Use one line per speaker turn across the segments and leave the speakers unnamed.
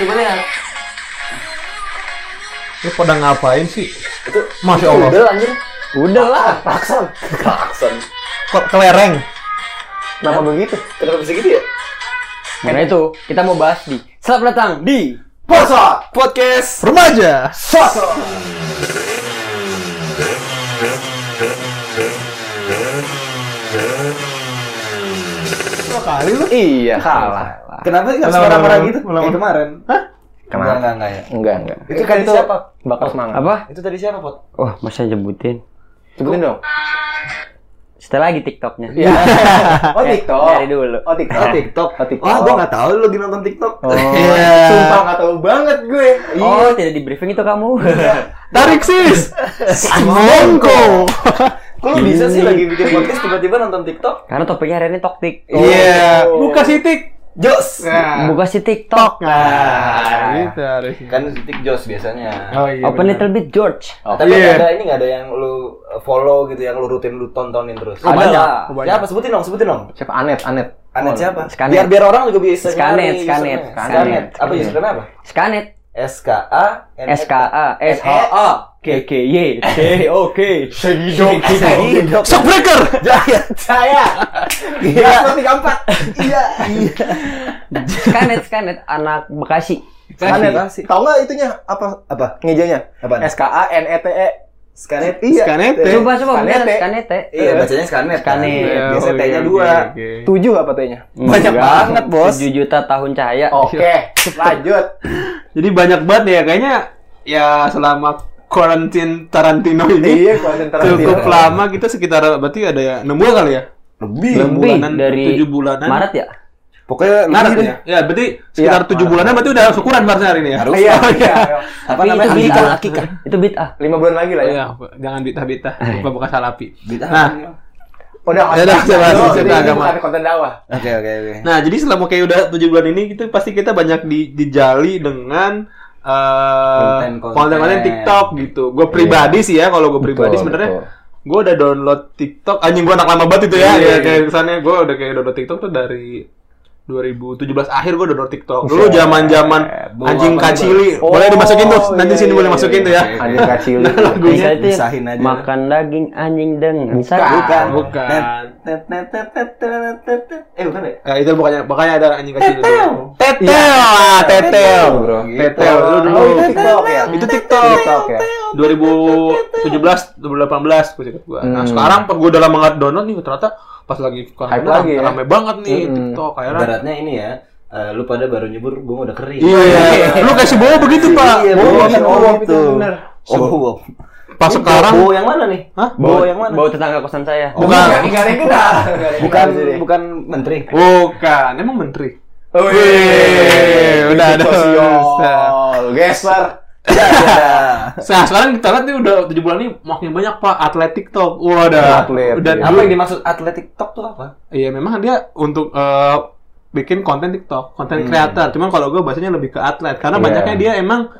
coba lihat
Lu pada ngapain sih?
itu
Masya
Ya
itu
Allah.
udah anjir
Udah lah.
klakson klakson
Kok kelereng?
Kenapa begitu?
kenapa bisa gitu ya
Karena itu kita mau bahas di. Selamat datang di.
Posa
Podcast
Remaja. Dua kali lu.
Iya kalah.
Kenapa sih harus
Ulang,
marah-marah
ulang,
gitu?
ulang.
Kayak kemarin Hah? Kenapa? Enggak, enggak, ya
Enggak enggak.
Itu kan itu siapa?
Bakal semangat.
Apa?
Itu tadi siapa, Pot?
Wah, masa nyebutin?
Sebutin dong.
Setelah lagi TikToknya.
Iya.
Oh, TikTok
Dari dulu.
Oh, TikTok Oh, TikTok
Oh, TikTok.
Wah, gue gak tau lu lagi nonton TikTok Iya.
Iya.
Sumpah gak tau banget gue
Oh, tidak di briefing itu kamu.
Tarik sis. Mongko.
Kok lu bisa sih lagi bikin podcast tiba-tiba nonton TikTok?
Karena topiknya hari ini toktik.
Iya. Buka sitik.
Jos!
Buka si TikTok.
Nah,
Ah.
gitu harusnya.
Kan titik Jos biasanya
Oh iya.
Open
benar.
little bit George.
Tapi nggak
Iya.
ada ini nggak ada yang lu uh, follow gitu yang lu rutin lu tontonin terus.
Oh, banyak.
lah.
Oh, banyak.
Siapa sebutin dong, sebutin dong.
Siapa? Anet Anet.
Anet siapa?
Skanet.
Biar biar orang juga bisa
Skanet,
nyari
Skanet,
username.
Skanet.
Skanet. Apa
Skanet.
username apa?
Skanet.
Iya. S K A N E T.
SKA
E.
SHA KKY TOK
Hidup.
Shockbreaker.
Saya. Iya. Seperti keempat. Iya.
Skanet Skanet anak Bekasi.
Skanet.
Tahu nggak itunya apa apa?
Ngejanya.
Apaan?
S K A N E T E.
Skanet.
Skanet.
Coba coba bener
Skanete.
Skanet.
Iya, bacanya Skanet. kan?
Skanet.
Iya,
Iya,
Biasanya
oke,
T-nya
oke,
dua.
oke.
Tujuh apa tanya?
Banyak banget,
Eh,
Bos.
7 juta tahun cahaya.
Oke,
Iya.
lanjut.
Jadi banyak banget ya kayaknya ya selama quarantine Tarantino ini
konten
cukup lama kita sekitar berarti ada ya 6 bulan kali ya?
Lebih.
Enam
Lebih
bulanan,
dari
tujuh bulanan.
Maret ya?
Pokoknya
Maret
lebih
ya? Ya berarti sekitar
Iya,
7 bulanan berarti udah syukuran harusnya hari ini ya?
Harus. Iya,
Oh,
iya.
Tapi itu bid'ah. Itu bid'ah.
Lima bulan lagi lah ya.
Iya, jangan bitah-bitah,
Iya.
lupa bekas salapi.
Bid'ah.
Nah,
Udah,
Ya udah, coba
Jadi
cerita
ini
agama.
bukan konten dakwah.
Oke, oke, oke.
Nah, jadi selama kayak udah 7 bulan ini kita pasti kita banyak di, dijali dengan eh,
Konten-konten. Iya.
konten-konten TikTok gitu. Gue pribadi sih ya, kalau gue pribadi sebenarnya gue udah download TikTok. Anjing gue anak lama banget itu
Iya,
ya. ya
iya.
kayak kesannya gue udah kayak download TikTok tuh dari 2017 akhir gue download TikTok. Dulu zaman-zaman
Iya. Eh, Bawa
anjing
apa
kacili.
nih,
boleh dimasukin tuh.
Oh,
Nanti
iya,
sini
iya,
boleh
iya,
masukin tuh ya.
iya,
Ada kecil.
Nah, lagunya.
Bisa itu ya,
Pisahin aja.
Makan daging anjing dengan sate.
Bukan.
Bukan.
Tet, tet, tet, tet, tet, tet, tet. Eh, bukan ya?
Nah, itu bukannya makanya ada anjing kacili.
Tetel.
dulu. Tetel, ah, tetel.
Bro, gitu.
Tetel dulu dulu.
Oh, itu TikTok ya?
Itu TikTok.
TikTok ya.
2017 2018 gue cek gua. Nah, sekarang pas gue udah lama nggak download nih ternyata pas lagi
Hmm. Hype
corona
lagi ya.
rame banget nih TikTok akhirnya
Ibaratnya ini ya, eh, lu pada baru nyebur, gue udah kering.
Iya, iya. Lu kasih bawa begitu, Pak.
Iya,
Bawa
bawa
kan
bawa
bawa
gitu.
bener.
Oh, wow.
Pas
Ini
sekarang
bau yang mana nih?
Hah?
Bau yang mana?
Bau tetangga kosan saya.
Oh.
bukan.
Enggak ada yang kenal. Nggak ada yang Oh,
Bukan
kenal sih.
bukan menteri.
Bukan, emang menteri.
iya,
Wih,
Wih,
udah ada.
sosial. Gesper.
Ya, ya.
Nah, sekarang kita lihat nih udah 7 bulan nih makin banyak Pak atlet TikTok. Wadah.
Atlet,
udah
iya.
Apa yang dimaksud atletik TikTok tuh apa?
Iya, memang dia untuk eh, bikin konten TikTok, konten
Hmm.
creator. Cuman kalau gue bahasanya lebih ke atlet karena banyaknya dia emang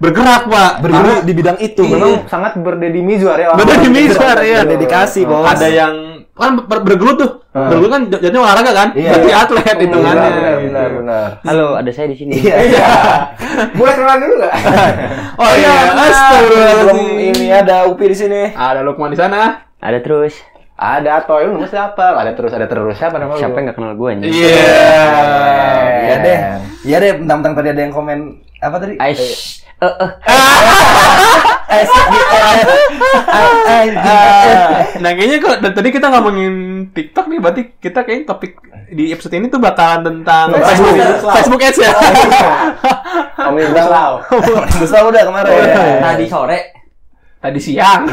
bergerak, Pak. Karena-
Iya.
Iya.
di bidang itu.
Memang sangat berdedi mizuar ya.
Beda di Mizar ya.
Berdedikasi, Bos. Ah.
Ada yang kan ber- bergelut tuh. Bergelut kan jad- jadinya olahraga kan?
Iya.
Berarti atlet hitungannya.
Benar,
gitu.
benar, benar.
Halo, ada saya di sini.
Iya.
Boleh kenalan dulu nggak?
Oh iya,
Belum
astagfirullahaladzim.
ini ya. ada Upi di sini.
Ada Lukman di sana.
Ada terus.
Ada Toy, lu namanya siapa? Ada terus, ada terus. Siapa nama lu?
Siapa yang gak kenal gue anjing?
Iya.
Iya deh. Iya deh, mentang-mentang tadi ada yang komen apa tadi?
Aish. Eh, eh.
S D
Ah.
Nah kayaknya kok dari tadi kita ngomongin TikTok nih berarti kita kayaknya topik di episode ini tuh bakalan tentang
Facebook.
Facebook Facebook Ads ya.
Omnibus Law.
Besar udah kemarin.
Eh.
Tadi sore.
Tadi siang.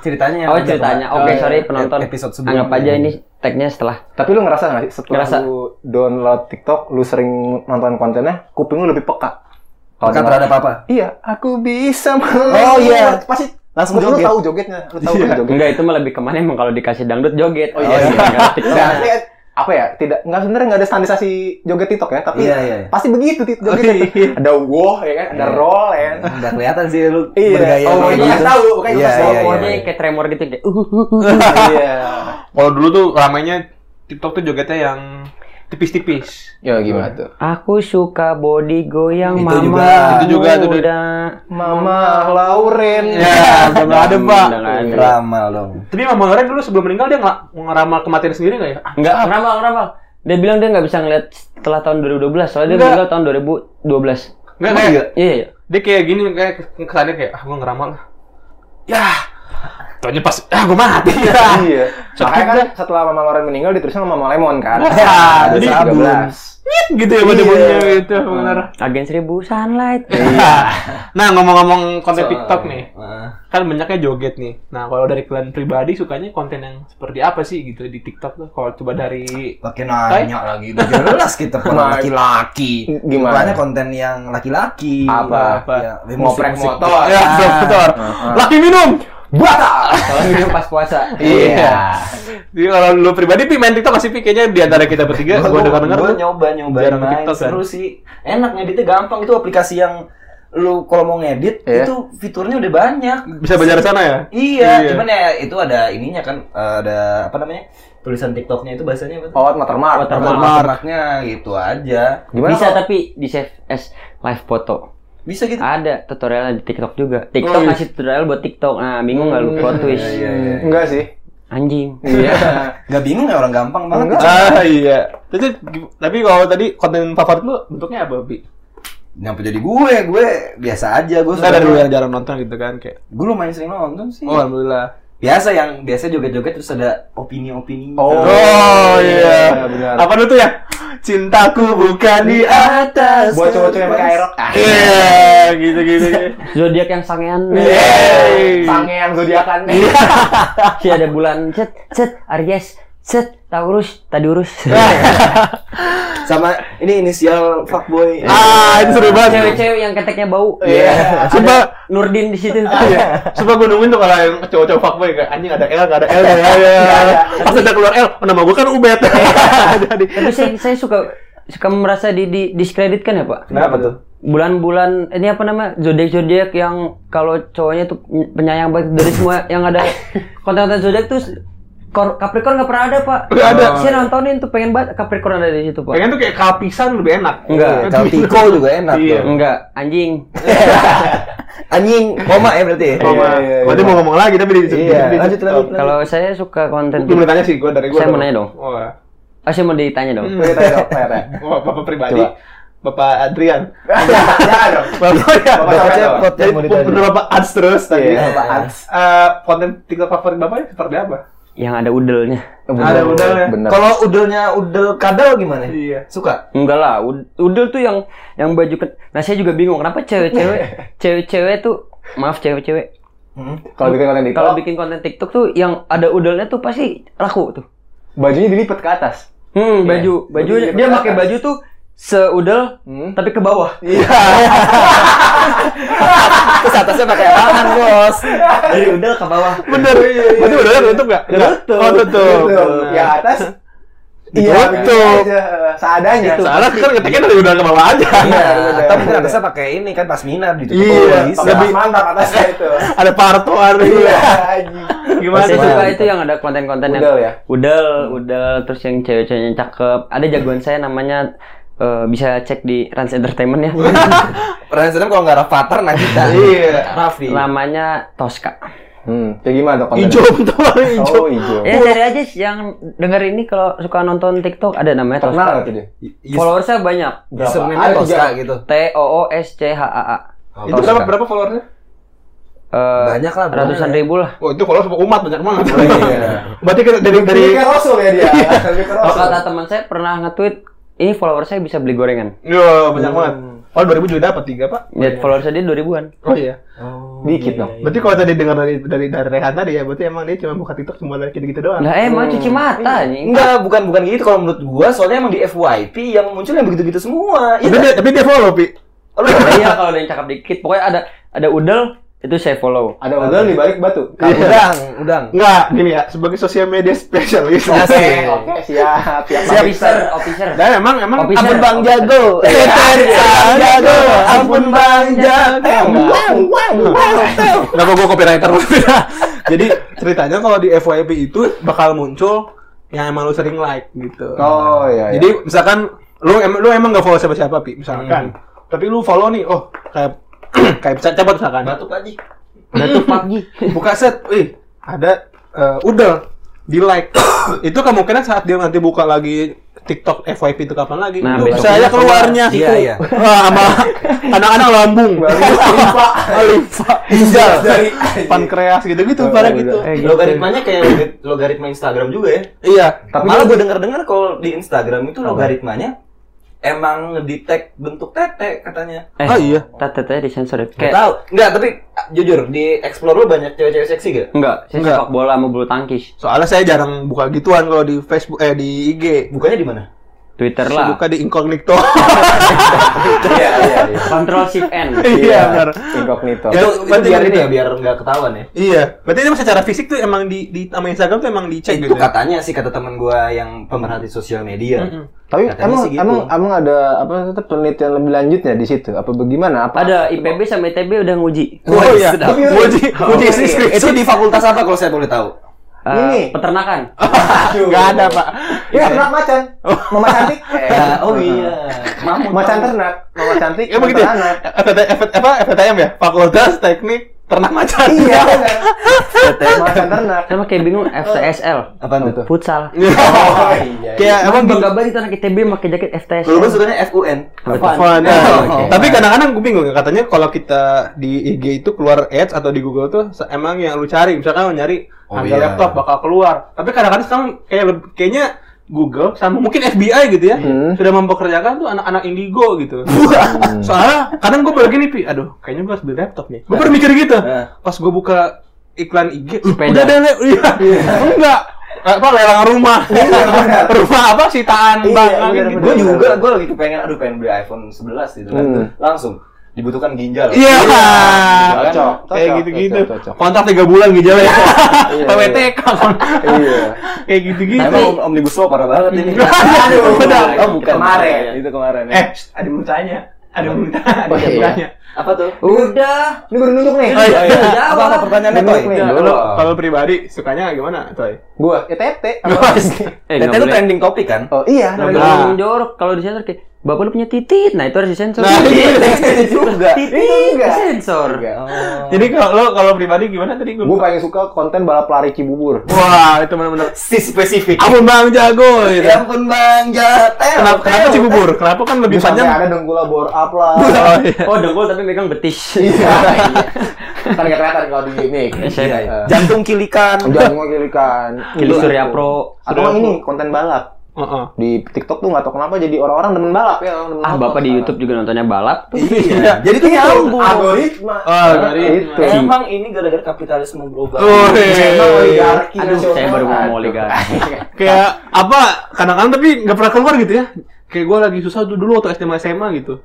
ceritanya. yang
Oh
udah
ceritanya.
kemarin.
Oke,
Eh,
sorry penonton.
e-,
Episode sebelumnya.
Anggap aja ini tagnya setelah.
Tapi lu ngerasa nggak sih setelah
Ngerasa.
lu download TikTok, lu sering nonton kontennya, kuping lu lebih peka.
Bukan
Kalau dengar-
terhadap apa?
Iya, aku bisa
Oh, iya.
Pasti
Langsung
lu, lu
joget.
tahu jogetnya, lu tahu
Iya.
joget.
Oh, Enggak, itu malah lebih kemana emang kalau dikasih dangdut joget. Oh
iya.
Enggak,
Nah,
TikTok.
kayak- apa ya? Tidak enggak sebenarnya enggak ada standarisasi joget TikTok ya, tapi
Iya, iya.
pasti begitu tit- jogetnya. ada woh ya kan, ada
Iya.
roll ya. kan.
Enggak kelihatan sih lu
Iya.
bergaya.
Oh,
kayak
itu
gitu.
kasih tahu, bukan
Iya,
kasih tahu.
iya,
Pokoknya
iya.
kayak tremor gitu kayak uh, uh, uh.
Iya.
Kalau dulu tuh ramainya TikTok tuh jogetnya yang tipis-tipis.
Ya gimana tuh?
Aku suka body goyang
Itu
mama
juga.
Itu juga, itu juga.
muda.
Mama Lauren.
Ya,
iya.
udah nggak ada pak.
Udah nggak ada.
Ramal dong.
Tapi Mama Loren dulu sebelum meninggal dia nggak ngeramal kematian sendiri nggak ya? Ah,
Enggak, ngeramal, ngeramal. Dia bilang dia nggak bisa ngeliat setelah tahun 2012, soalnya dia
Nggak.
meninggal tahun 2012.
Nggak kayak
Iya, iya.
dia kayak gini kayak kesannya kayak ah gue ngeramal lah. Ya, taunya pas ah gue mati ya.
Iya.
Sakit
Makanya kan
dah.
setelah Mama Lauren meninggal ditulisnya Mama Lemon kan.
Wah, Ah, jadi
sabun.
Nyit gitu ya pada bunyinya gitu benar.
Agen 1000 sunlight.
Nah ngomong-ngomong konten TikTok nih,
Heeh.
kan banyaknya joget nih. Nah kalau dari kalian pribadi sukanya konten yang seperti apa sih gitu di TikTok tuh? Kalau coba dari
Pakai nanya lagi, udah jelas kita
Nah,
pernah laki-laki.
gimana?
Sukanya konten yang laki-laki.
Apa?
Apa?
Ya,
Ngoprek
musik-musik.
motor.
ya dokter, laki minum. Batal.
Kalau minum pas puasa.
Iya.
Jadi kalau lu pribadi pi main TikTok masih pi kayaknya di antara kita bertiga gua dengar dengar
Gua
tuh.
nyoba nyoba
jarang
main
TikTok, kan?
seru sih enak ngeditnya gampang itu aplikasi yang lu kalau mau ngedit
Iya.
itu fiturnya udah banyak
Bisa belajar sana ya?
iya,
Iya.
cuman ya itu ada ininya kan eh, ada apa namanya tulisan TikToknya itu bahasanya apa tuh?
Oh, watermark.
Watermark. Watermarknya gitu aja
Gimana
bisa
kalau-
tapi di save as live foto.
bisa gitu
Ada tutorialnya di TikTok juga. TikTok
Oh, iya.
ngasih tutorial buat TikTok. Nah, bingung nggak lu plot twist?
Iya, iya, iya.
Enggak sih.
Anjing.
Iya.
nggak bingung ya orang gampang banget
Ah iya. Tapi tapi kalau tadi konten favorit lu bentuknya apa, Bi?
nyampe jadi gue gue biasa aja gue
Enggak ada dulu yang jarang nonton gitu kan kayak.
gue lumayan sering nonton sih
Oh, alhamdulillah.
biasa yang biasa joget-joget terus ada opini-opini
Oh,
Oh
iya,
iya.
benar.
Apa dulu tuh ya? Cintaku bukan di
atas
Buat cowok-cowok yang pakai aerok. kan?
Iya, gitu-gitu.
Zodiak yang sangean.
Iya.
Yeay.
Sangean zodiakan.
Si ada bulan cet cet Aries cet Taurus Tadurus.
Nah. sama ini inisial fuckboy
Ah, itu seru banget.
Cewek-cewek yang keteknya bau.
Iya. Sumpah
Ada Nurdin di situ.
Iya. Sumpah gue nungguin tuh kalau yang cowok-cowok fuckboy kayak anjing ada L, gak ada L, gak ada L. Gak ada. Pas ada keluar L, oh, nama gue kan Ubed. Jadi
Tapi saya, saya suka suka merasa di, di diskreditkan ya, Pak.
Kenapa tuh?
bulan-bulan ini apa nama zodiak-zodiak yang kalau cowoknya tuh penyayang banget dari semua yang ada konten-konten zodiak tuh Kor- Capricorn nggak pernah ada pak.
Nggak ada.
Saya nontonin tuh pengen banget Capricorn ada di situ pak.
pengen tuh kayak kapisan lebih enak.
Enggak,
Aduh.
Kaltiko juga enak
Iya.
dong.
Enggak, anjing.
Anjing, koma ya berarti. ya?
Koma.
Iya, iya,
Berarti
iya.
mau ngomong lagi tapi di
Iya, lanjut, lanjut, lanjut.
Kalau saya suka konten.
Belum ditanya sih gue dari gue.
Saya mau nanya dong.
Wah.
Oh, saya mau ditanya dong.
Hmm.
Oke, tanya dong, tanya, tanya.
Wah, iya. Oh, bapak pribadi.
Coba.
Bapak Adrian.
Ya dong.
Bapak ya.
Bapak
Bapak
cepot yang
Jadi
mau ditanya.
menurut Bapak Ads terus tadi.
Iya, Bapak
Ads. Eh, konten TikTok favorit Bapak seperti apa?
Yang ada udelnya.
Ada udelnya.
Bener.
Kalau udelnya udel kadal gimana?
Iya.
Suka?
Enggak lah, ud- udel tuh yang yang baju ken- Nah, saya juga bingung kenapa cewek-cewek cewek-cewek tuh maaf cewek-cewek
Kalau bikin konten TikTok,
kalau bikin konten TikTok tuh yang ada udelnya tuh pasti laku tuh.
bajunya dilipat ke atas.
Hmm, baju, baju
Baju
dia
ke
pakai
atas.
baju tuh seudel
Hmm. Iya.
tapi ke bawah.
Terus atasnya pakai apaan, Bos? Dari udel ke bawah.
Bener. Berarti udelnya tutup nggak?
Tutup.
Oh tutup.
Iya. Betul. Yang atas
Ditutup.
biarin aja. Seadanya.
Salah kan ngeteknya dari udang ke bawah aja.
Iya,
bener.
tapi kan atasnya pakai ini kan pasmina ditutup.
Iya,
Oh, bisa.
Tapi
Lebih-
mantap atasnya itu.
Ada parto ada
Iya, anjing.
Gimana
saya
tuh?
suka itu yang ada konten-konten yang
Udel ya?
udel, udel, terus yang cewek-ceweknya cakep. Ada jagoan saya namanya eh, bisa cek di Rans Entertainment ya.
Rans Adam kalau nggak Rafathar nah kita.
Iya.
Raffi.
namanya Tosca.
Hmm, kayak gimana tuh konten?
Hijau bentar warna hijau.
Oh, hijau.
Ya cari aja sih yang denger ini kalau suka nonton TikTok ada namanya
Terkenal
Tosca.
nggak tuh dia?
Iya.
Followersnya banyak.
Username
Ada
Tosca
tiga.
gitu.
T O O S C H A A.
Itu berapa berapa followersnya?
Eh,
Banyak lah, banyak
ratusan
lah.
ribu lah.
Oh itu followers sama umat banyak banget.
Iya.
Berarti kita dari dari
kan-
Dari Rasul ya
Iya.
dia. Lebih ke
Kalau
Rasul.
kata teman saya pernah nge-tweet ini followers saya bisa beli gorengan.
Iya banyak banget. Oh 2000 juga dapat tiga pak?
Ya, followers dia 2000-an.
Oh iya.
Dikit dong.
Berarti kalau tadi dengar dari dari dari Rehan tadi ya, berarti emang dia cuma buka TikTok cuma dari gitu-gitu doang.
Lah eh, emang cuci
Iya.
mata anjing.
Enggak, bukan bukan gitu kalau menurut gua, soalnya emang di FYP yang muncul yang begitu-gitu semua. Iya.
Tapi dia, tapi dia follow pi.
Nah, iya kalau ada yang cakep dikit, pokoknya ada ada udel itu saya follow.
Ada udel di balik batu.
Udang, udang.
Enggak, Iya. gini ya, sebagai sosial media spesialis.
Oke, oke, siap. Siap.
Officer, officer.
Dan Nah, emang emang
Officer.
ampun Bang Jago.
Jago,
ampun Bang Jago. Eh, Kenapa gue copywriter? Jadi ceritanya kalau di FYP itu bakal muncul yang emang lu sering like gitu.
Oh iya. iya.
Jadi misalkan lu emang lu emang gak follow siapa-siapa pi misalkan. Tapi lu follow nih, oh kayak kayak bisa cepat misalkan.
Batuk aja.
Batuk pagi.
Buka set, wih ada eh, udel di like. itu kemungkinan saat dia nanti buka lagi TikTok FYP itu kapan lagi?
Nah,
Nah, itu bisa
besoknya
aja keluarnya
keluar. Iya,
itu.
iya.
Wah, sama anak-anak lambung, limpa, limpa, ginjal, pankreas gitu-gitu, pada gitu.
Eh, gitu.
Logaritmanya kayak logarit- logaritma Instagram juga ya.
Iya,
Tapi kan-
Malah gue denger-dengar kalau di Instagram itu logaritmanya emang ngedetect bentuk tete katanya.
Eh,
Ah, iya.
Tete disensor ya.
Gak
Kayak
tahu. Enggak, tapi ah, jujur di explore lu banyak cewek-cewek seksi gak?
enggak, saya
Enggak.
sepak bola sama bulu tangkis.
Soalnya saya jarang buka gituan kalau di Facebook eh di IG.
Bukannya di mana?
Twitter lah.
Saya buka di incognito.
Iya, iya, iya.
Control Shift N.
iya, benar.
Incognito.
Ya,
Itu, itu
berarti
biar
ini
ini
ya?
ya, biar nggak ketahuan ya.
Iya. Berarti itu secara fisik tuh emang di di sama Instagram tuh emang dicek
Itu
gitu. ya?
katanya sih kata teman gua yang pemerhati sosial media.
Mm-mm.
Tapi
Katanya
emang
sih gitu.
emang emang ada apa tetap penelitian lebih lanjutnya di situ? Apa bagaimana? Apa
Ada IPB sama ITB udah nguji.
Oh iya.
Sedap.
Tapi uji uji skripsi.
Itu di fakultas apa kalau saya boleh tahu?
Eh,
Ini.
peternakan.
Enggak ada, Pak.
Iya, ternak macan. Mama cantik.
oh iya. Mamut.
Macan ternak. Mama cantik.
Ya begitu. ya?
ternak.
FT- F- apa FTM ya? Fakultas Teknik Ternak Macan.
Iya. benar. Macan ternak.
Sama kayak bingung FTSL.
Apaan tuh?
Futsal.
Oh iya.
Kayak emang gitu?
Emang
di
bangga banget itu anak ITB pakai jaket FTSL.
Kalau gue sukanya FUN.
Fun, ya.
Oh, oke.
Tapi kadang-kadang gue bingung ya, katanya kalau kita di IG itu keluar ads atau di Google tuh se- emang yang lu cari misalkan lu nyari
Oh,
harga
iya.
laptop bakal keluar. Tapi kadang-kadang sekarang kayak leb- kayaknya Google sama mungkin FBI gitu ya
Hmm.
sudah mempekerjakan tuh anak-anak indigo gitu. Soalnya kadang gue begini pi, aduh kayaknya gue harus beli laptop nih.
Nah.
Gue pernah mikir gitu. Pas gue buka iklan IG, "Loh,
Sepeda.
udah deh, Le." iya. enggak apa lelang rumah
Iya,
rumah apa sitaan bang gitu.
Gue juga, gue lagi kepengen, aduh pengen beli iPhone 11 gitu kan.
Hmm.
Langsung dibutuhkan ginjal.
Iya.
Cocok.
Kayak
Cocok,
gitu-gitu.
cocok, cocok.
Kontrak 3 bulan gejala ya. PWTK kon.
Iya.
Kayak gitu-gitu.
Iya.
Iya.
Emang om- omnibus law parah banget ini.
Aduh, benar.
Oh bukan.
Itu kemarin. ya.
Eh, shh, ada yang mau tanya. Ada yang mau tanya. Ada yang
iya.
mau tanya.
Apa tuh?
Udah.
Ini gue nunjuk nih.
Oh, iya.
Apa apa pertanyaannya
Bener
Toy? Eh,
nih.
Ya, Lu kalau pribadi sukanya gimana, Toy?
Gua ya tete.
Eh,
Tete
nggak
lu
boleh.
trending topik kan?
Oh iya.
Kalau
Nah.
ngomong jorok, kalau disensor kayak bapak lu punya titit, nah itu harus disensor.
Nah, iya,
titit juga.
Iya.
disensor.
Jadi kalau lu kalau pribadi gimana tadi gua?
Gue paling suka konten balap lari Cibubur.
Wah, itu benar-benar.
Si spesifik.
Ampun Bang Jago gitu.
Ya ampun bang, Eh, jateng.
Kenapa kenapa Cibubur? Kenapa kan lebih
Terus sampai
panjang?
ada dengkula bor up lah.
Oh, iya.
Oh, dengkul tapi megang betis.
Iya. Kan nggak kelihatan kalau di ini.
Iya, iya.
Jantung kilikan.
Jangan ngekilikan.
Kili Surya Pro.
Atau nggak ini konten balap
Heeh.
di Tiktok tuh nggak tau kenapa jadi orang-orang demen balap ya. orang demen
Ah,
motor
Bapak di
sekarang.
YouTube juga nontonnya balap.
Iya. Jadi tuh nyambung.
Algoritma.
Oh, algoritma.
Iya, Itu.
Iya.
Emang ini gara-gara kapitalisme global.
Oh,
Emang
iya.
oligarki
Aduh,
nasional.
saya baru mau ngomong
Aduh.
oligarki.
kayak apa kadang-kadang tapi nggak pernah keluar gitu ya kayak gue lagi susah tuh dulu waktu SMA SMA gitu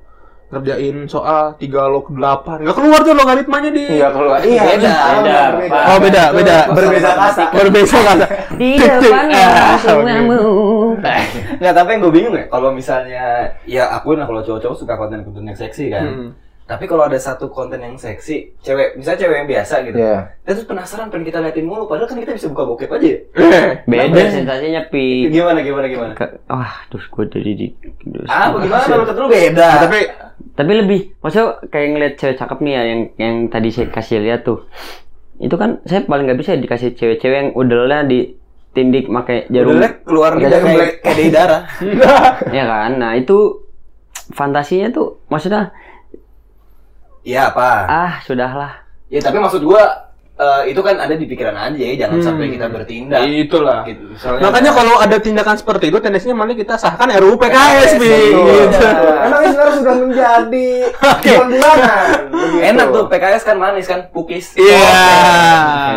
ngerjain soal 3 log 8 nggak keluar tuh logaritmanya di
Iya keluar. Iya.
kan?
Beda,
sekarang
beda, Iya.
berbeda.
oh beda beda
Berbeda kasta.
berbeda kata
Di depan
Ah,
kamu.
Nggak, tapi yang gue bingung ya, kalau misalnya, ya akuin lah kalau cowok-cowok suka konten-konten yang seksi kan.
Hmm.
Tapi kalau ada satu konten yang seksi, cewek, misalnya cewek yang biasa gitu,
Iya.
dia tuh penasaran pengen kita liatin mulu, padahal kan kita bisa buka bokep aja ya.
Beda sensasinya, Pi.
Gimana, gimana, gimana?
Ke- Wah, aduh, gue jadi di... aduh,
Ah, bagaimana? Menurut lu beda.
Nah, tapi
tapi lebih maksudnya kayak ngeliat cewek cakep nih ya yang yang tadi saya kasih lihat tuh itu kan saya paling nggak bisa dikasih cewek-cewek yang udelnya ditindik pakai jarum
Udah keluar
Kayak
lidah
black.
Iya, kayak kayak dari darah.
ya kan nah itu fantasinya tuh maksudnya
Iya apa?
ah sudahlah
Ya tapi maksud gua eh, itu kan ada di pikiran aja ya, jangan sampai kita bertindak.
itulah
Gitu. Misalnya
Iya. makanya kalau ada tindakan seperti itu tendensinya malah kita sahkan RUU PKS Bi.
Betul.
Iya.
gitu
Emang ini sekarang sudah menjadi
Oke.
bulan bulanan. Begitu.
enak tuh PKS kan manis kan, pukis. Oh,
iya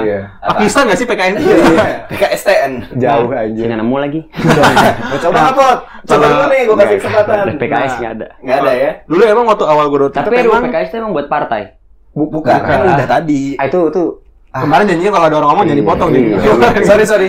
Iya.
Apa?
Pakistan nggak sih PKS
Iya.
Iya.
PKSTN.
Jauh aja.
sini nemu lagi
Gua coba
Nah.
apa? Coba dulu nih, gua kasih kesempatan.
Udah, PKS nggak ada
Nggak ada ya?
Nah, dulu emang waktu awal gue
tapi RUU PKS itu emang buat partai
Bu- Bukan, kan udah tadi.
Ah, itu tuh
kemarin janjinya kalau ada orang ngomong jadi potong jadi
Iya.
sorry, sorry.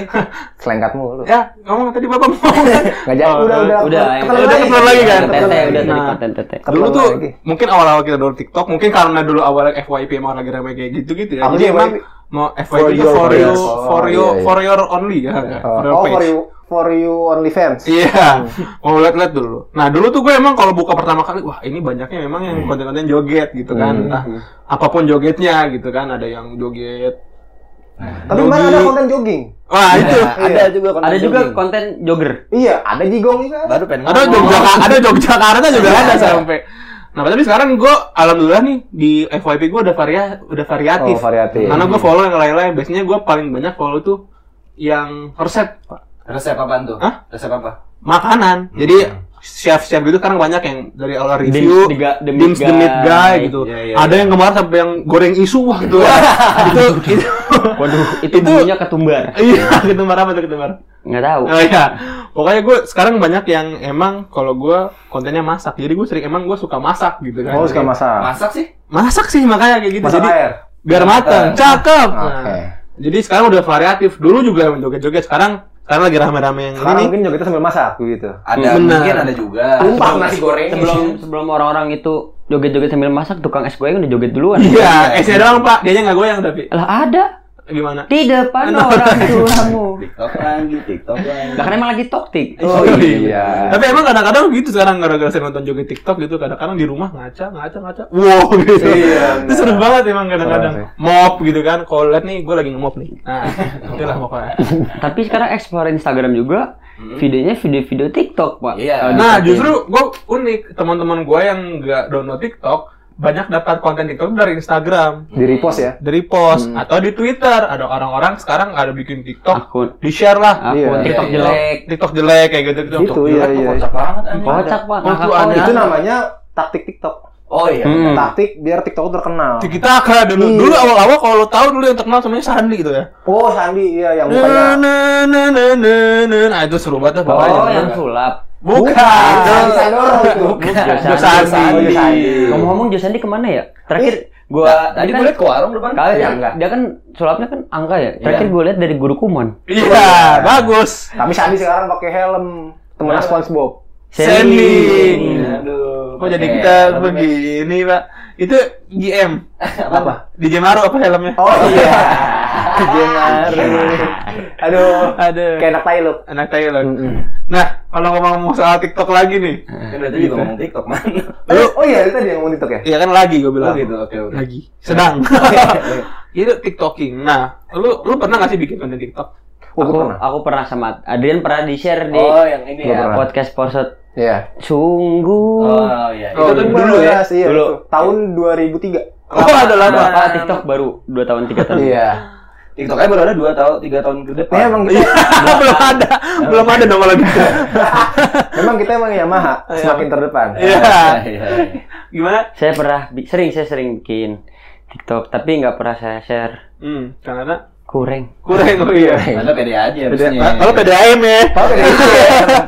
selengkat mulu.
ya ngomong tadi bapak mau
Nggak jadi.
Oh,
Udah, udah.
udah yang
Ketelan
udah
lagi.
ketelan lagi kan?
konten tete
Ketelan
udah
lagi.
tadi
Nah.
konten tete
Ketelan
dulu tuh
lagi.
mungkin awal-awal kita dulu TikTok mungkin karena dulu awalnya FYP emang lagi rame kayak gitu gitu ya
Apa
jadi
sih
emang
FYP?
mau FYP
For
itu
your-
for
for
you
your-
for you
oh, iya, iya.
for your only ya kan?
Nah.
Oh,
for your
oh, for
page
you- for you OnlyFans.
Iya, mau lihat-lihat dulu. Nah dulu tuh gue emang kalau buka pertama kali, wah ini banyaknya memang yang
Hmm.
konten-konten joget gitu kan. Entah apapun jogetnya gitu kan, ada yang joget.
Tapi kemarin ada konten jogging.
Wah itu.
ada juga konten
Ada juga
jogging.
konten jogger.
Iya, ada jigong juga.
Nah,
baru pengen
Ada
ngomong.
Jogja, ada Yogyakarta juga ada sampai. Nah tapi sekarang gue alhamdulillah nih di FYP gue udah varia, udah variatif.
Oh, variatif.
Karena gue follow yang lain-lain. Biasanya gue paling banyak follow tuh yang resep Pak.
resep apaan tuh
Hah?
resep apa
makanan. Jadi chef-chef gitu sekarang banyak yang dari awal review,
the ga- the meat
dims the meat guy
guy.
gitu.
Iya, iya,
Ada yang kemarin sampai yang goreng isu wah gitu. itu itu
Waduh, itu bunyinya ketumbar.
iya ketumbar apa tuh ketumbar?
Nggak tahu.
Oh iya. Pokoknya gue sekarang banyak yang emang kalau gue kontennya masak. Jadi gue sering emang gue suka masak gitu kan.
Oh, suka
Jadi,
masak.
masak sih
Masak sih makanya kayak gitu.
Masak
Jadi
air.
biar matang. Cakep. Nah,
Oke.
Jadi sekarang udah variatif. Dulu juga yang joget-joget. Sekarang sekarang lagi rame-rame yang
Sekarang
ini. nih.
mungkin jogetnya sambil masak gitu.
ada
Benar.
mungkin ada juga
Tumpah.
Sebelum nasi goreng
Sebelum sebelum orang-orang itu joget-joget sambil masak, tukang es goyang udah joget duluan.
Iya, esnya doang pak, dianya nggak goyang tapi
Lah ada
gimana?
di depan orang tuamu.
tiktok lagi tiktok lagi
Lah kan emang lagi toktik.
Oh
iya.
Tapi emang kadang-kadang gitu sekarang gara-gara saya nonton joget TikTok gitu kadang-kadang di rumah ngaca ngaca ngaca. Wow
Iya,
gitu. Itu seru banget emang
Seru
kadang-kadang. Mop gitu kan. Kalau lihat nih gue lagi nge-mop nih. Nah, itulah mopnya.
Tapi sekarang explore Instagram juga, videonya video-video TikTok, Pak.
Hmm. Iya.
Eh,
Nah,
di-
justru gue unik teman-teman gue yang nggak download TikTok banyak dapat konten TikTok dari Instagram,
Di repost ya.
dari post atau di Twitter. Ada orang-orang sekarang ada bikin TikTok,
akun
di share lah.
akun
Iya.
TikTok
Iya, iya.
jelek.
TikTok jelek kayak gitu gitu.
Itu iya iya.
kocak banget anjing.
Kocak, Pak.
Oh,
Ngakak
tuh ada.
kocak.
Itu namanya taktik TikTok.
oh iya
Hmm.
Taktik biar TikTok terkenal.
Kita kan dulu dulu awal-awal kalau lo tahu dulu yang terkenal namanya Sandi gitu ya.
Oh, Sandi iya yang
Na,
mukanya.
na, na, na, na, na. Nah, itu seru banget
Oh,
pokoknya.
iya.
yang sulap.
iya. Bukan.
Sadoro itu.
Jos Sandi.
Jos Sandi.
Ngomong-ngomong Josandi kemana ya?
Eh,
Terakhir gua
tadi
kan-
gue liat ke warung depan
Kali
Iya,
ya,
enggak.
dia kan sulapnya kan angka
Iya.
ya. Terakhir gue lihat dari guru kumon.
Iya, bagus.
Tapi Sandi sekarang pakai helm. Temennya SpongeBob.
Selling.
aduh
Kok jadi kita begini, Pak? Itu GM.
Apa?
DJ Maru apa helmnya?
Oh iya. Jengaru. Aduh.
Ada.
Kayak anak tai lu.
Anak Thailand. Nah, kalau ngomong-ngomong soal TikTok lagi nih.
kan tadi juga ngomong tiktok man
Eh, Oh iya, itu tadi yang ngomong TikTok ya?
Iya kan lagi gue bilang.
oh gitu oke oke
Lagi. Sedang. Itu TikToking. Nah, lu lu pernah gak sih bikin konten TikTok?
Oh,
Aku
gua pernah.
aku pernah sama Adrian pernah di share di
oh yang ini
Gua
ya
pernah.
podcast Porsot
Iya.
sungguh.
oh iya
Oh, iya.
itu tuh
Dulu ya?
Iya,
Dulu.
itu. Tahun 2003.
Oh, ada lama.
Bapak TikTok baru 2 tahun 3 tahun.
Iya.
tiktoknya baru ada dua tahun tiga tahun ke depan
Ini emang kita,
belum ada, belum ada gitu. nama lagi.
memang kita emang Yamaha semakin terdepan.
Iya.
iya iya.
Gimana?
Saya pernah bi- sering saya sering bikin TikTok tapi nggak pernah saya share.
Hmm, karena
Kurang.
kurang oh iya.
Anda pede aja harusnya.
Kalau PDAM ya.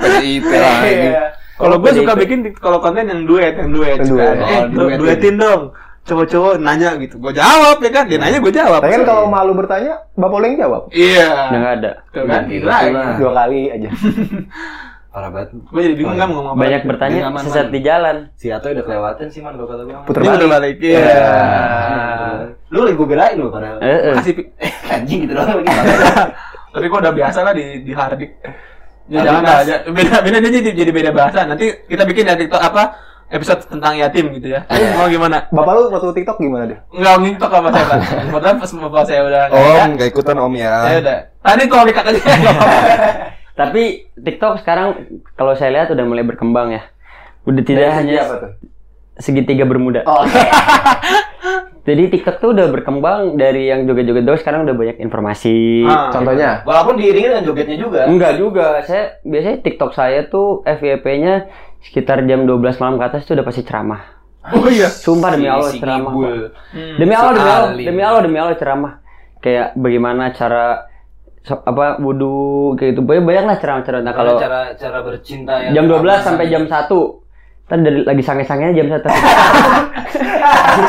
PDIP
Iya.
lagi.
Kalau gue suka
PDIP.
bikin di- kalau konten yang duet, yang duet.
Yang
Suka,
duet.
Eh,
Oh,
du-
duetin.
duetin dong. Cowok-cowok nanya gitu. Gue jawab ya kan, dia nanya gue jawab.
Tapi kan kalau malu bertanya, Bapak Oleng jawab.
Iya.
Udah nggak ada.
Tuh kan,
Gitu
gila.
lah.
Dua kali aja.
Parah banget.
Gue jadi bingung kan mau
Oh,
ngomong apa.
Banyak bertanya
Aman,
sesat
aman.
di jalan.
Si Ato udah kelewatan sih man kalau kata gue.
Puter
Dia udah
balik.
balik. Iya.
Lu lagi gue belain lu padahal.
Eh, eh.
Kasih pi-
Anjing gitu doang lagi.
Tapi gue udah biasa lah di di hardik. Ya, jangan lah, ya. beda beda aja jadi, jadi beda bahasa. Nanti kita bikin ya TikTok apa episode tentang yatim gitu ya. Mau gimana?
Bapak lu waktu TikTok gimana deh?
Enggak ngintok sama saya, Pak. Kebetulan pas bapak saya udah nggak ada,
Om, gak ikutan om
saya
ya.
udah. Tadi kalau dikat aja.
Tapi TikTok sekarang kalau saya lihat udah mulai berkembang ya. Udah tidak hanya
apa tuh? Oh,
segitiga bermuda. Jadi TikTok tuh udah berkembang dari yang joget-joget doang sekarang udah banyak informasi.
Ah.
Contohnya?
Walaupun diiringin dengan jogetnya juga.
Enggak juga, saya biasanya TikTok saya tuh FYP-nya sekitar jam 12 malam ke atas tuh udah pasti ceramah.
Oh iya.
Sumpah demi Allah
Si
ceramah.
ngibul.
Demi Allah, demi Allah,
Sekali.
demi Allah, demi Allah ceramah. Kayak bagaimana cara so- apa wudhu kayak gitu. Banyak banyak lah ceramah-ceramah. Nah, kalau
Kalau cara cara bercinta
jam
yang
12 sampai jam 1 Ntar dari lagi sange-sangenya jam 1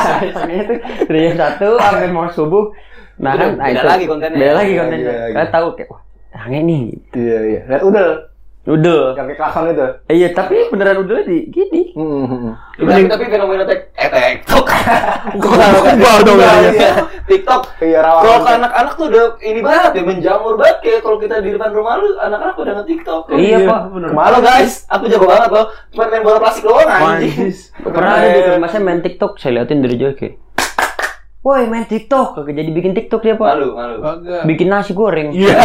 Sange-sangenya tuh dari jam 1 sampai mau subuh Nah kan,
Beda-
nah
beda
itu
lagi kontennya.
Beda lagi kontennya
Beda lagi.
Karena tahu kayak, wah sange nih
Iya, iya. Lihat udel.
Udah.
Yang kayak klakson itu.
Eh, iya, tapi beneran udah di gini.
Hmm, hmm, hmm.
Tapi, tapi fenomena tek eh TikTok.
Kubah dong. ya.
Iya, TikTok.
Iya, rawan.
Kalau ke anak-anak tuh udah ini banget ya menjamur banget kayak kalau kita di depan rumah lu anak-anak udah nge-TikTok.
Iya, Pak.
Malu guys, aku jago banget loh. Cuma main bola plastik doang anjing.
Manjis.
Pernah ada di
gitu.
rumah saya main TikTok, saya liatin dari jauh kayak. Woi main TikTok, kagak jadi bikin TikTok dia pak.
Malu, malu.
Bikin nasi goreng.
Iya.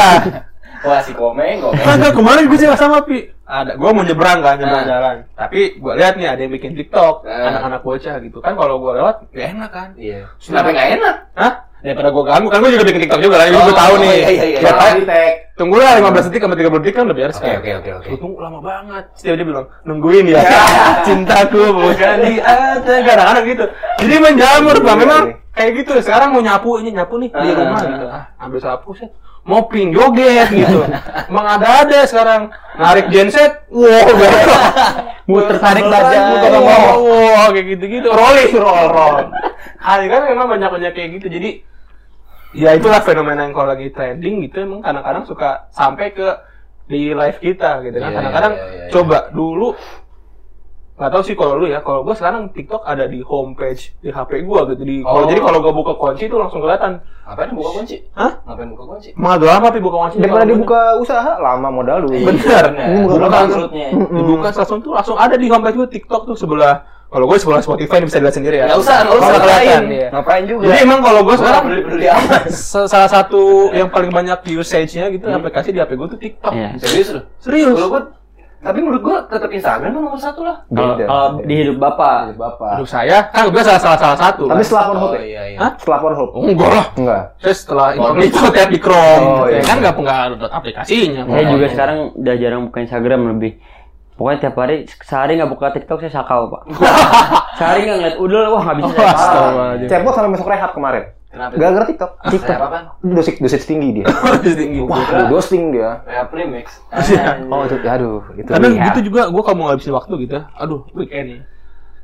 Wah, si komeng, komeng.
Kagak kemarin gue juga sama Pi. Ada, gue mau nyebrang kan, nyebrang jalan. Tapi gue lihat nih ada yang bikin TikTok,
Nah.
anak-anak bocah gitu kan. Kalau gue lewat, gak enak kan.
Iya. Kenapa nggak enak?
Hah? Daripada gue ganggu, kan gue juga bikin TikTok juga lah,
Oh,
gue tahu
oh,
nih.
iya, iya, iya.
Gua
Jangan
tahu. Tunggulah 15 detik sama 30 detik kan lebih harus
Oke, oke, oke, oke.
Gue tunggu lama banget. Setiap dia bilang, nungguin ya. Cintaku bukan di atas. Kadang-kadang gitu. Jadi menjamur, Pak. Memang kayak gitu. Sekarang mau nyapu, ini nyapu nih di
Iya, Ah.
rumah gitu. Ah, ambil sapu, set. Mopping, joget gitu. Emang ada-ada sekarang. Narik genset, wow, belok.
Muter tarik
Belok,
badan.
muter tarik, Wow, wow, kayak gitu-gitu. Rolling, roll, roll. Ah, kan memang banyak-banyak kayak gitu. Jadi ya itulah fenomena yang kalau lagi trending gitu emang kadang-kadang suka sampai ke di live kita gitu kan
Iya,
kadang-kadang
iya, iya, iya.
coba dulu nggak tahu sih kalau lu ya kalau gua sekarang TikTok ada di homepage di HP gua gitu di kalau
Oh.
jadi kalau gua buka kunci itu langsung kelihatan
Ngapain buka kunci?
Hah?
Ngapain buka kunci?
mahal lama tapi buka kunci
Daripada dibuka usaha, lama modal lu.
bener
Bener.
Buka
Buka
langsung.
perutnya.
dibuka
Hmm.
langsung tuh langsung ada di homepage gua TikTok tuh sebelah kalau gua sebelah Spotify ini bisa dilihat sendiri ya
Nggak usah, nggak usah
Kalau kelihatan,
ngapain.
iya.
Ngapain juga?
jadi emang kalau gua sekarang
Beli beli amat.
Se- salah satu yang paling banyak usage-nya gitu
Hmm.
aplikasi di HP gue tuh TikTok.
Iya.
Serius lu?
Serius.
Kalau gua tapi menurut gua tetap Instagram mah nomor satu lah.
Kalau
Beda.
kalau di hidup bapak.
Bapak.
Hidup saya kan gue salah salah salah satu.
Tapi setelah Pornhub
Oh
ya?
iya iya.
Hah?
Setelah Pornhub.
Oh, enggak lah.
Enggak.
Saya setelah incognito tab di Chrome.
Oh,
gitu ya.
iya.
Kan enggak pengaruh aplikasinya.
Saya juga sekarang udah jarang buka Instagram lebih. Pokoknya tiap hari sehari nggak buka TikTok saya sakau pak. sehari nggak ngeliat udel wah nggak bisa. saya.
Astagfirullahaladzim.
Cepot sampai masuk rehab kemarin.
Kenapa?
Gara-gara TikTok.
TikTok. Apa kan?
Dosis dosis tinggi dia.
tinggi.
Wah, dosing dia.
Ya premix.
Oh, itu aduh, itu.
Kadang
rehab.
iya. gitu juga gue kalau mau ngabisin waktu gitu. ya, Aduh, weekend nih.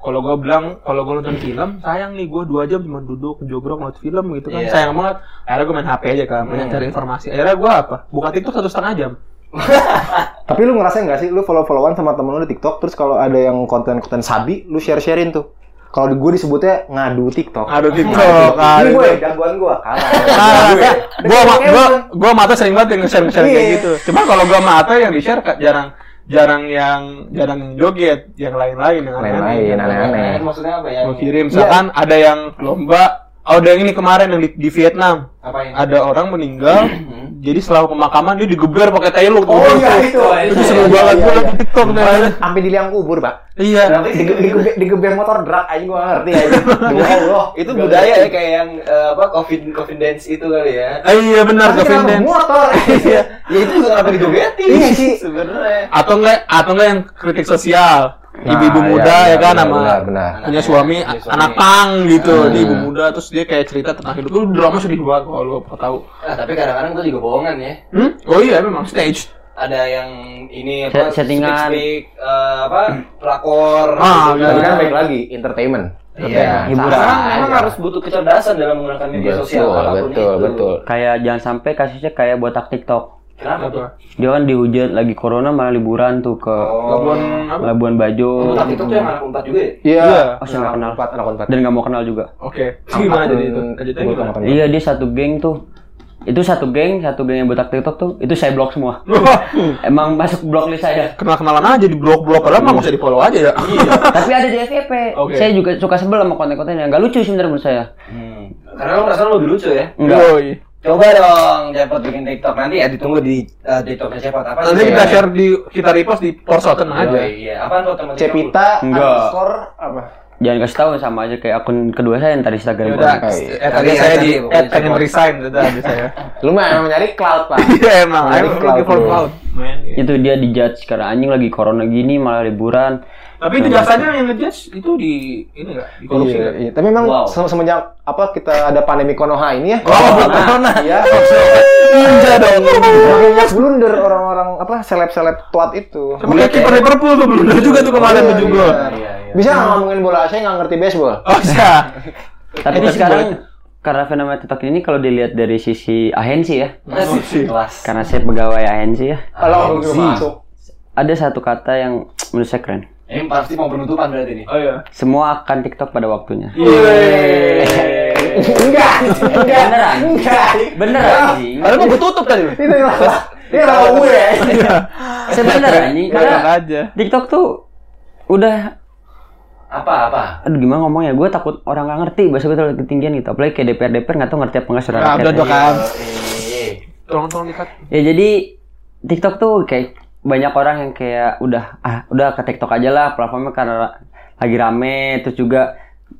Kalau gue bilang, kalau gue nonton film, sayang nih gue dua jam cuma duduk, jogrok, ngeliat film gitu kan,
Iya.
sayang banget. Akhirnya gue main HP aja kan, banyak cari informasi. Akhirnya gue apa? Buka TikTok satu setengah jam.
Tapi lu ngerasain nggak sih lu follow-followan sama temen lu di TikTok terus kalau ada yang konten-konten sabi lu share-sharein tuh. Kalau di gue disebutnya ngadu TikTok.
Aduh TikTok,
Ini ya?
aduh.
gue gangguan gue. Kalah.
Nah, gua ma-
Kayak
gua gua mata sering banget yang nge-share nge-share kayak
Iya.
gitu. Cuma kalau gua mata yang di-share ka- jarang jarang yang jarang yang joget, yang lain-lain yang
Lain-lain, aneh-aneh.
Maksudnya apa ya?
Gua kirim
Iya.
misalkan ada yang lomba Oh, ada yang ini kemarin yang di, di Vietnam.
Ngapain?
Ada orang meninggal, jadi setelah pemakaman dia digeber pakai tayung.
Mm-hmm. Oh iya itu.
Itu seru banget gua liat di TikTok dah.
Sampai di liang kubur, Pak.
Iya.
Dige- dige- Digeber motor drag aja gua nggak ngerti aja.
Iya.
Ya Allah.
Itu budaya ya kayak yang eh, apa Covid Covid dance itu kali ya.
Eh, iya benar
Tapi
Kevin
kenapa
Dance.
motor? Iya.
Ya itu juga kenapa dijogetin?
Iya sih.
Sebenarnya.
Atau enggak atau enggak yang kritik sosial. Ibu-ibu
Nah,
muda
iya,
ya kan
benar,
sama
benar, benar.
punya suami
Punya
a-
suami.
anak pang gitu di ibu muda terus dia kayak cerita tentang hidup lu drama sedih banget kalau lu apa tahu
Ah, tapi kadang-kadang itu juga bohongan ya.
hmm? oh iya memang stage
Ada yang ini
Set-
apa
settingan.
speak, speak, eh, apa pelakor.
Ah,
gitu
Tapi kan
kan.
baik lagi entertainment.
Iya,
Hiburan.
Sekarang memang
aja.
harus butuh kecerdasan dalam menggunakan media sosial
Betul,
apapun
betul,
itu.
betul.
Kayak jangan sampai kasusnya kayak botak TikTok.
Kenapa tuh?
apa
Dia kan dihujat lagi corona malah liburan tuh ke
Labuan apa
Labuan Bajo.
Tapi itu Oh, tuh yang anak unpad juga ya?
Iya.
Iya.
Oh, saya nggak kenal.
Anak empat, anak empat.
Dan nggak mau kenal juga.
oke gimana jadi itu lanjutnya
Gua
gimana
tangkap aja.
Iya dia satu geng tuh itu satu geng, satu geng yang botak TikTok tuh, itu saya blok semua. Emang masuk blok list saya.
kenal kenalan aja di blog blog padahal mah nggak usah di follow aja ya
Tapi ada di FYP.
Oke.
Saya juga suka sebel sama konten-konten yang nggak lucu sebenarnya menurut saya.
Hmm. Karena lo merasa lo lebih lucu ya?
Enggak.
Yoi.
Coba dong, Cepot bikin TikTok. Nanti ya ditunggu di eh, TikToknya Cepot. Apa
nanti
sih?
kita share di kita repost di porsoten aja
Yoi, Iya, apaan tuh teman
Cepita
Enggak.
underscore apa?
Jangan kasih tahu sama aja kayak akun kedua saya yang tadi Instagram.
Ya udah,
Oke.
eh, tadi
Nanti
saya
ya,
di
nanti
eh,
pokoknya
pengen
cepot.
resign, udah habis saya.
Lu mah emang nyari cloud, Pak.
Iya emang,
Nanti
I'm
cloud
looking for
dulu.
cloud.
Itu dia dijudge karena anjing lagi corona gini malah liburan.
Tapi itu jasanya yang ngejudge itu di ini nggak di korupsi
Iya,
nggak?
iya. Tapi memang
Wow.
se- semenjak apa kita ada pandemi Konoha ini ya.
Oh,
Corona. Iya.
Ninja dong.
Makin banyak blunder orang-orang apa seleb-seleb tuat itu. Iya,
Sama kayak kiper Liverpool tuh bener juga tuh kemarin tuh juga.
Bisa nggak ngomongin bola saya nggak ngerti baseball.
Oh iya.
Tapi sekarang karena fenomena TikTok ini kalau dilihat dari sisi ahensi ya,
Kelas.
Kan.
Ah,
karena saya pegawai ahensi ya.
Kalau gue masuk.
ada satu kata yang menurut saya keren.
Ini pasti mau penutupan berarti nih.
Oh iya.
Semua akan TikTok pada waktunya.
Enggak, enggak,
Beneran.
enggak.
Bener anjing.
Padahal mau gue tutup tadi. lu.
Itu yang salah. Ini salah gue.
Sebener anjing.
Enak
Karena
aja.
TikTok tuh udah
Apa apa?
aduh gimana ngomong ya gue takut orang nggak ngerti bahasa gue terlalu ketinggian gitu apalagi kayak DPR DPR nggak tahu ngerti apa nggak suara
Nah,
rakyat
udah tuh kan.
Eh,
Tolong tolong dikat.
ya jadi TikTok tuh kayak banyak orang yang kayak udah ah udah ke TikTok aja lah platformnya karena ra- lagi rame terus juga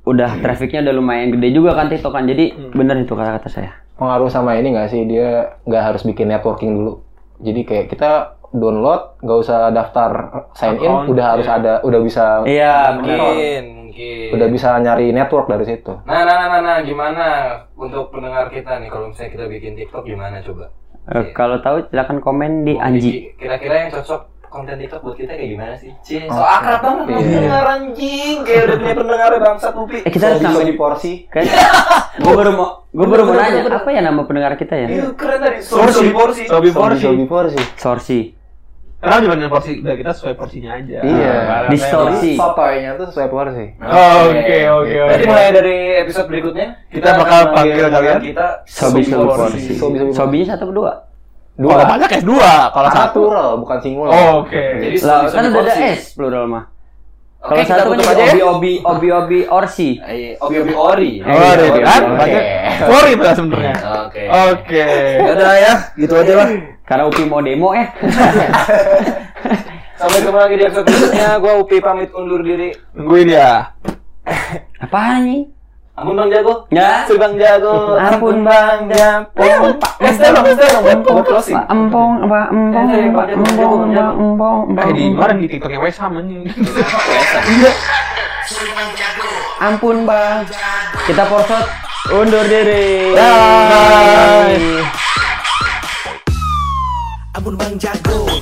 udah trafficnya udah lumayan gede juga kan TikTok kan jadi bener itu kata-kata saya
Pengaruh sama ini nggak sih dia nggak harus bikin networking dulu. Jadi kayak kita download, nggak usah daftar sign in,
Account,
udah harus
iya.
ada, udah bisa,
iya bener
mungkin, mungkin.
udah bisa nyari network dari situ.
Nah, nah, nah, nah, nah, gimana untuk pendengar kita nih kalau misalnya kita bikin TikTok gimana coba?
Eh, kalau tahu silakan komen di
Mau
Anji
bikin- Kira-kira yang cocok konten TikTok buat kita kayak gimana sih? Cie, so akrab banget sama pendengar anjing, kayak udah punya pendengar bangsa tupi.
eh kita harus
bisa
nambahin
diporsi.
kan gue baru mau gue baru mau nanya apa ya nama pendengar kita ya
Itu keren tadi,
Sorsi.
sorsi porsi.
Sobi porsi.
Bisa diporsi.
Sorsi
Karena juga dengan porsi udah kita sesuai porsinya aja.
Iya.
Nah,
Distorsi. Porsi.
Sotoynya tuh sesuai porsi.
Oke oke
Berarti
oke.
mulai dari episode berikutnya
Kita bakal panggil kalian.
kita
Sobi Sobi
Porsi.
Porsi
Sobi- Sobi-
Sobinya satu atau dua
Kalau
Dua.
banyak ya dua, kalau
Karena
satu. Oh,
plural, bukan singular.
Oke.
Jadi
Lah,
Sobi
kan udah ada
Porsi.
S plural mah.
Oke,
Kalau
kita
satu kan
tutup
jadi
aja ya.
obi obi obi obi orsi.
Eh, Obi-obi ori.
Oh, ada
Obi-obi
kan?
ori.
Banyak. Sorry itu lah sebenarnya.
Oke.
Oke.
Udah ya, gitu aja lah.
Karena Upi mau demo eh.
Sampai ketemu lagi di episode berikutnya. Gua Upi pamit undur diri.
Tungguin ya.
Apaan nih?
Ampun Bang Jago.
Ya.
Ampun Bang Jago.
Ampun, Ya
Bang Jago. Pesta dong, pesta dong. Mau closing.
Empong, apa empong, apa empong, apa empong,
Eh di
empong.
kemarin di TikToknya Wesam anjing.
Ampun bang. Kita porsot undur diri.
Bye.
Ampun Bang Jago